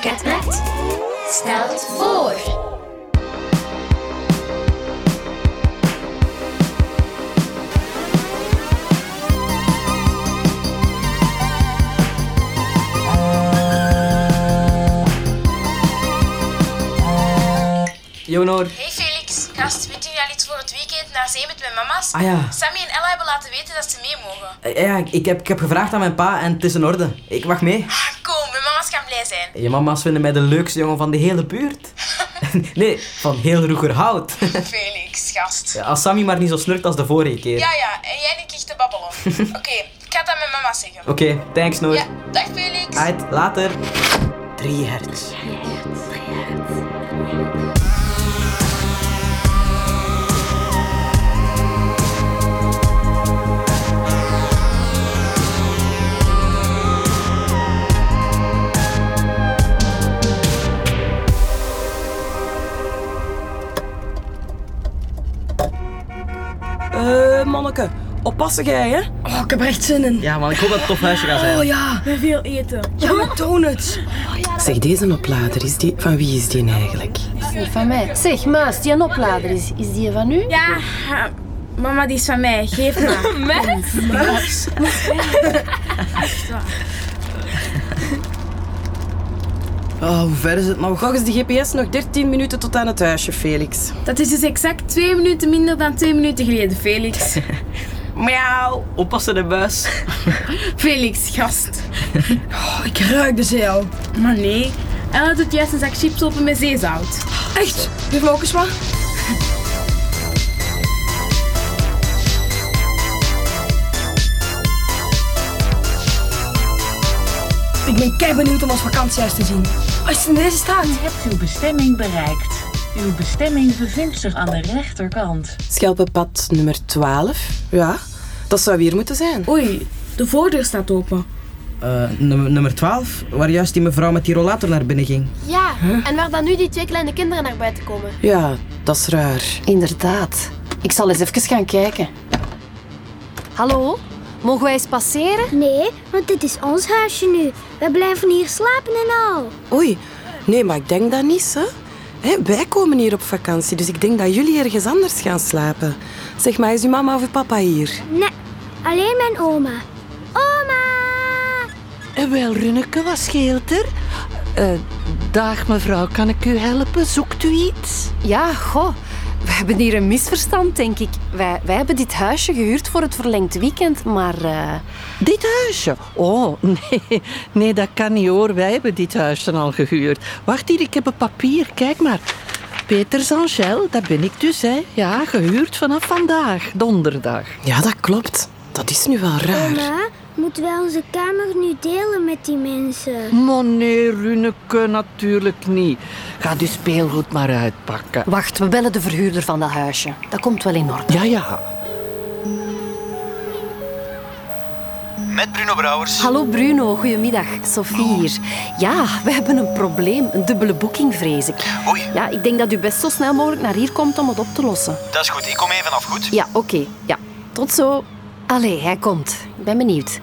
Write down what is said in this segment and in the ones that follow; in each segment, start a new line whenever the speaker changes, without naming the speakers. Podcast stelt voor.
Jonor.
Hey Felix, gast, weet jullie al iets voor het weekend naar zee met mijn mama's?
Ah ja.
Sammy en Ella hebben laten weten dat ze mee mogen.
Eh, Ja, ik- ik heb, ik heb gevraagd aan mijn pa en het is in orde. Ik mag mee.
Ah, Kom, mijn mama's gaan blij zijn.
Je mama's vinden mij de leukste jongen van de hele buurt. nee, van heel Roegerhout.
Felix, gast.
Als Sammy maar niet zo snurkt als de vorige keer.
Ja, ja, en jij niet echt te babbelen. Oké, ik ga het aan mijn mama zeggen.
Oké, thanks Noor.
Ja, dag Felix.
Uit, later. 3 hertz.
Eh, manneke, oppassen jij, hè? Oh, ik heb er echt zin in.
Ja man, ik hoop dat het een tof huisje gaat zijn.
ja. Met veel eten. Ja, met donuts. Zeg, deze oplader, is die, van wie is die eigenlijk?
Van mij. Zeg, Maas, die een oplader is, is die van u?
Ja, eh, mama die is van mij. Geef maar.
Oh, hoe ver is het nog?
nou? Volgens de GPS nog 13 minuten tot aan het huisje, Felix.
Dat is dus exact twee minuten minder dan twee minuten geleden, Felix.
Miauw.
Oppassen de buis.
Felix, gast.
Oh, ik ruik de zee al.
Maar nee, Ella doet juist een zak chips open met zeezout.
Echt? Geef me ook eens wat. Ik ben kei benieuwd om ons vakantiehuis te zien. Als het in deze staat.
U hebt uw bestemming bereikt. Uw bestemming bevindt zich aan de rechterkant.
Schelpenpad nummer 12. Ja, dat zou hier moeten zijn.
Oei, de voordeur staat open.
Eh, nummer 12, waar juist die mevrouw met die rollator naar binnen ging.
Ja, en waar dan nu die twee kleine kinderen naar buiten komen?
Ja, dat is raar.
Inderdaad. Ik zal eens even gaan kijken. Hallo, mogen wij eens passeren?
Nee, want dit is ons huisje nu. We blijven hier slapen en al.
Oei, nee, maar ik denk dat niet, hè. Hé, wij komen hier op vakantie, dus ik denk dat jullie ergens anders gaan slapen. Zeg maar, is uw mama of uw papa hier?
Nee, alleen mijn oma. Oma!
Eh, Wel, Runneke, wat scheelt er? Eh, dag mevrouw, kan ik u helpen? Zoekt u iets?
Ja, goh. We hebben hier een misverstand, denk ik. Wij, wij hebben dit huisje gehuurd voor het verlengd weekend, maar... eh,
Dit huisje? Oh, nee, nee, dat kan niet hoor. Wij hebben dit huisje al gehuurd. Wacht hier, ik heb een papier. Kijk maar. Peter Angel, dat ben ik dus, hè. Ja, gehuurd vanaf vandaag, donderdag.
Ja, dat klopt. Dat is nu wel raar.
Oma, moeten wij onze kamer nu delen met die mensen?
Hm.
Maar nee, Runneke, natuurlijk niet. Ga dus speelgoed maar uitpakken.
Wacht, we bellen de verhuurder van dat huisje. Dat komt wel in orde.
Ja, ja.
Met Bruno Brouwers.
Hallo Bruno, goedemiddag. Sophie hier. Ja, we hebben een probleem. Een dubbele boeking, vrees ik.
Oei,
Ja, ik denk dat u best zo snel mogelijk naar hier komt om het op te lossen.
dat is goed. Ik kom even af, goed?
Ja, oké. Ja, tot zo. Allee, hij komt. Ik ben benieuwd.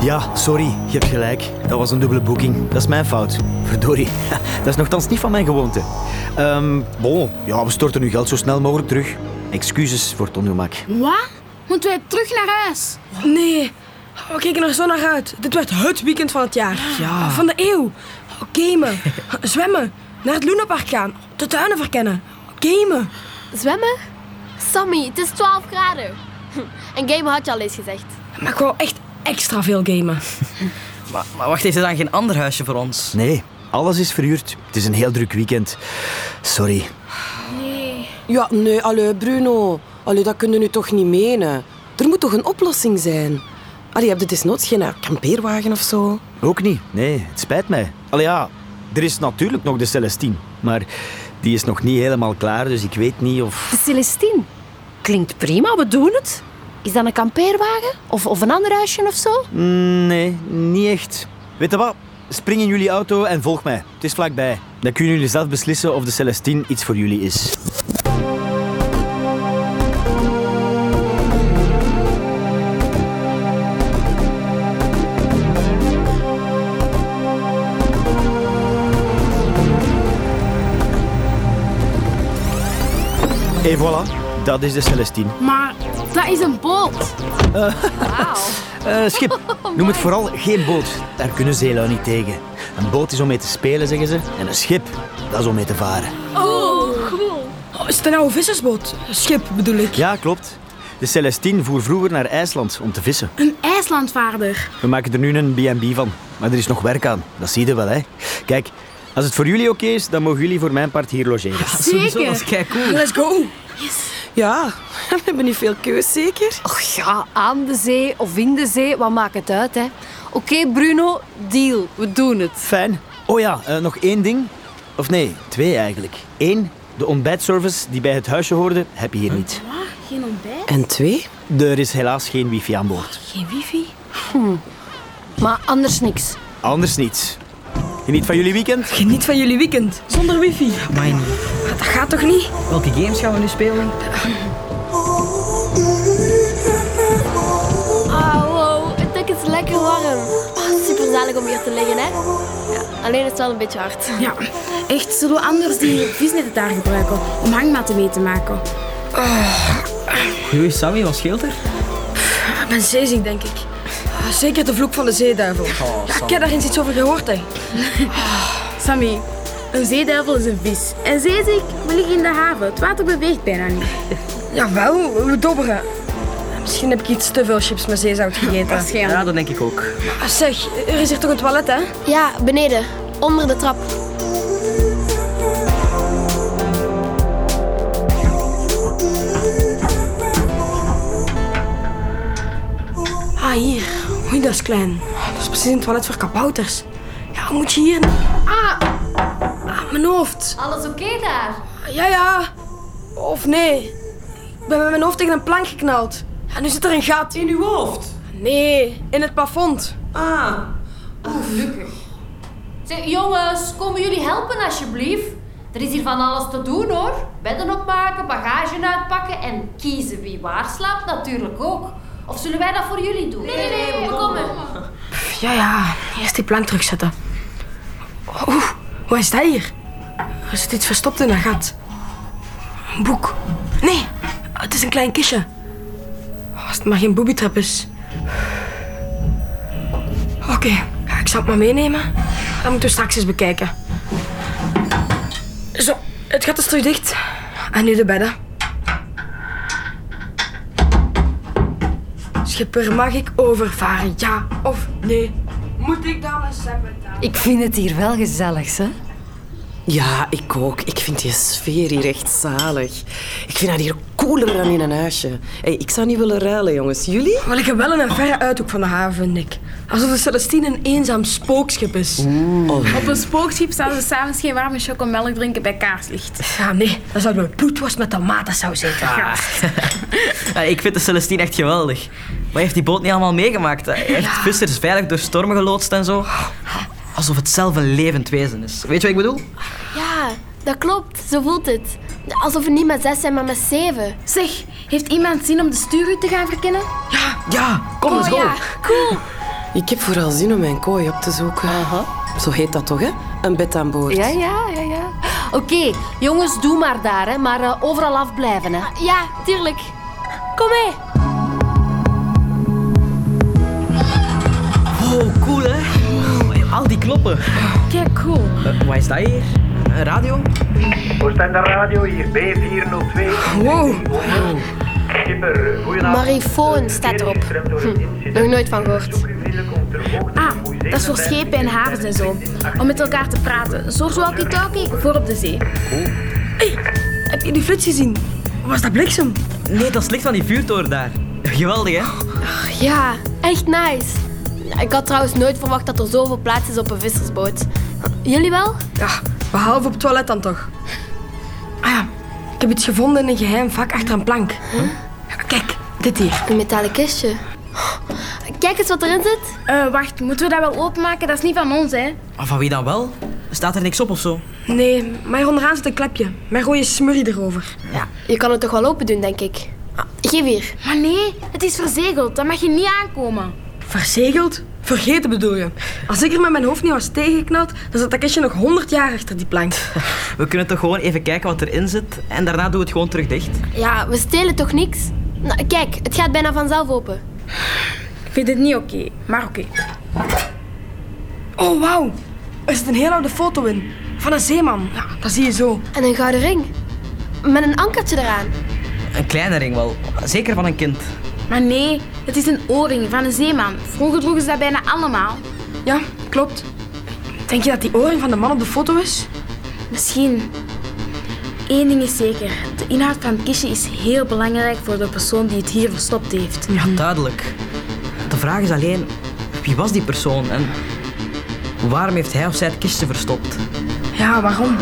Ja, sorry. Je hebt gelijk. Dat was een dubbele boeking. Dat is mijn fout. Verdorie. Dat is nogthans niet van mijn gewoonte. Ehm, bon, ja, we storten uw geld zo snel mogelijk terug. Excuses voor het ongemak.
Wat? Moeten wij terug naar huis?
Nee, we keken Oh, er zo naar uit. Dit werd het weekend van het jaar. Ja. Van de eeuw. Oh, Gamen, zwemmen, naar het Lunapark gaan, de tuinen verkennen. Gamen.
Zwemmen? Sammy, het is 12 graden. En game had je al eens gezegd.
Maar ik wou echt extra veel gamen.
Maar, maar wacht, is er dan geen ander huisje voor ons?
Nee, alles is verhuurd. Het is een heel druk weekend. Sorry.
Ja, nee, allee, Bruno. Allee, dat kun je nu toch niet menen. Er moet toch een oplossing zijn? Allee, heb je desnoods geen eh, kampeerwagen of zo?
Ook niet. Nee, het spijt mij. Allee, ja, er is natuurlijk nog de Celestine. Maar die is nog niet helemaal klaar, dus ik weet niet of...
De Celestine. Klinkt prima, we doen het. Is dat een kampeerwagen? Of, of een ander huisje of zo?
Nee, niet echt. Weet je wat? spring in jullie auto en volg mij. Het is vlakbij. Dan kunnen jullie zelf beslissen of de Celestine iets voor jullie is. Et voilà, dat is de Celestine.
Maar dat is een boot.
Eh, schip, noem het vooral geen boot. Daar kunnen zeelui niet tegen. Een boot is om mee te spelen, zeggen ze. En een schip, dat is om mee te varen.
Oh, is het nou een vissersboot? Schip bedoel ik.
Ja, klopt. De Celestine voer vroeger naar IJsland om te vissen.
Een IJslandvaarder.
We maken er nu een B&B van. Maar er is nog werk aan. Dat zie je wel, hè. Kijk, als het voor jullie oké is, dan mogen jullie voor mijn part hier logeren.
Sowieso, dat is kei cool.
Let's go. Ja, we hebben niet veel keus zeker.
Och ja, aan de zee of in de zee, wat maakt het uit, hè? Oké, Bruno, deal. We doen het.
Fijn. Oh ja, eh, nog één ding. Of nee, twee eigenlijk. Eén, de ontbijtservice die bij het huisje hoorde, heb je hier niet.
Geen ontbijt?
En twee?
Er is helaas geen wifi aan boord.
Geen wifi?
Maar anders niks.
Anders niets. Geniet van jullie weekend.
Geniet van jullie weekend. Zonder wifi.
Amai.
Dat gaat toch niet?
Welke games gaan we nu spelen?
Ah, wow, het dek is lekker warm. Oh, super zalig om hier te liggen, hè? Ja, alleen is het wel een beetje hard.
Ja. Echt, zullen we anders die visnetten daar gebruiken om hangmatten mee te maken?
Goeie, Sammy, wat scheelt er?
Ik ben zeeziek, denk ik. Ah, Zeker de vloek van de zeeduivel. ja, ik heb daar eens iets over gehoord, hè.
Sammy, een zeeduivel is een vis. En zeeziek, we liggen in de haven. Het water beweegt bijna niet.
Jawel, we dobberen. Misschien heb ik iets te veel chips met zeezout gegeten.
Waarschijnlijk.
Ja, dat denk ik ook.
Ah, Zeg, er is hier toch een toilet, hè?
Ja, beneden, onder de trap.
Ah, hier. Oei, dat is klein. Ah, Dat is precies een toilet voor kabouters. Ja, moet je hier... Ah! Ah, mijn hoofd.
Alles oké daar?
Ja, ja. Of nee. Ik ben met mijn hoofd tegen een plank geknald. Ja, nu zit er een gat. In uw hoofd? Nee, in het plafond.
Zeg, jongens, komen jullie helpen alsjeblieft? Er is hier van alles te doen hoor. Bedden opmaken, bagage uitpakken en kiezen wie waar slaapt natuurlijk ook. Of zullen wij dat voor jullie doen? Nee, nee, we komen.
Ja, ja. Eerst die plank terugzetten. Oeh, wat is dat hier? Er zit iets verstopt in dat gat. Een boek. Nee, het is een klein kistje. Als het maar geen boobytrap is. Oké, ja, ik zal het maar meenemen. Dat moeten we straks eens bekijken. Zo, het gat is terug dicht. En nu de bedden. Schipper, mag ik overvaren? Ja of nee? Moet ik dan een zwembad aan?
Ik vind het hier wel gezellig, hè?
Ja, ik ook. Ik vind die sfeer hier echt zalig. Ik vind dat hier cooler dan in een huisje. Hey, ik zou niet willen ruilen, jongens. Jullie?
We liggen wel in een verre uithoek van de haven, vind ik. Alsof de Celestine een eenzaam spookschip is.
Op een spookschip zouden we dus s'avonds geen warme chocomelk drinken bij kaarslicht.
Ja, nee, dan zouden we bloedworst met tomatensaus eten.
Ja, ik vind de Celestine echt geweldig. Wat heeft die boot niet allemaal meegemaakt? Hij heeft vissers veilig door stormen geloodst en zo. Alsof het zelf een levend wezen is. Weet je wat ik bedoel?
Ja, Ah, dat klopt, zo voelt het. Alsof we niet met zes zijn, maar met zeven.
Zeg, heeft iemand zin om de stuurhut te gaan verkennen?
Ja, kom eens,
Oh
go.
ja, cool.
Ik heb vooral zin om mijn kooi op te zoeken. Zo heet dat toch, hè? Een bed aan boord.
Ja, ja, ja, ja. Oké, jongens, doe maar daar, hè. maar eh, overal afblijven. Hè.
Ja, tuurlijk. Kom mee.
Oh, cool hè? Oh, Al die kloppen.
Kijk, cool.
Eh, wat is dat hier? Een radio?
Oostende Radio, hier B402.
Wow.
Schipper, goedenavond.
Marifoon staat erop. Hm. Nog nooit van gehoord.
Ah, dat is voor schepen en havens en zo. Om met elkaar te praten. Een soort walkie-talkie voor op de zee.
Heb je die flits gezien? Was dat bliksem?
Nee, dat is het licht van die vuurtoren daar. Geweldig hè?
Ja, echt nice. Ik had trouwens nooit verwacht dat er zoveel plaats is op een vissersboot. Jullie wel?
Ja, Ah, behalve op het toilet dan toch. Ah ja, ik heb iets gevonden in een geheim vak achter een plank. Kijk, dit hier.
Een metalen kistje. Kijk eens wat erin zit.
wacht, moeten we dat wel openmaken? Dat is niet van ons, hè?
Maar Ah, van wie dan wel? Staat er niks op of zo?
Nee, maar onderaan zit een klepje. Mijn rode smurrie erover.
Ja. Je kan het toch wel open doen, denk ik. Geef hier.
Maar nee, het is verzegeld. Dat mag je niet aankomen.
Verzegeld? Vergeten bedoel je. Als ik er met mijn hoofd niet was tegengeknald, dan zat dat kistje nog 100 jaar achter die plank.
We kunnen toch gewoon even kijken wat erin zit en daarna doen we het gewoon terug dicht.
Ja, we stelen toch niks? Nou, kijk, het gaat bijna vanzelf open.
Ik vind het niet oké, maar oké.
Oh, wauw. Er zit een heel oude foto in. Van een zeeman. Ja, dat zie je zo.
En een gouden ring. Met een ankertje eraan.
Een kleine ring wel, zeker van een kind.
Maar nee, het is een oorring van een zeeman. Vroeger droegen ze dat bijna allemaal.
Ja, klopt. Denk je dat die oorring van de man op de foto is?
Misschien. Eén ding is zeker. De inhoud van het kistje is heel belangrijk voor de persoon die het hier verstopt heeft.
Ja, duidelijk. De vraag is alleen, wie was die persoon en waarom heeft hij of zij het kistje verstopt?
Ja, waarom?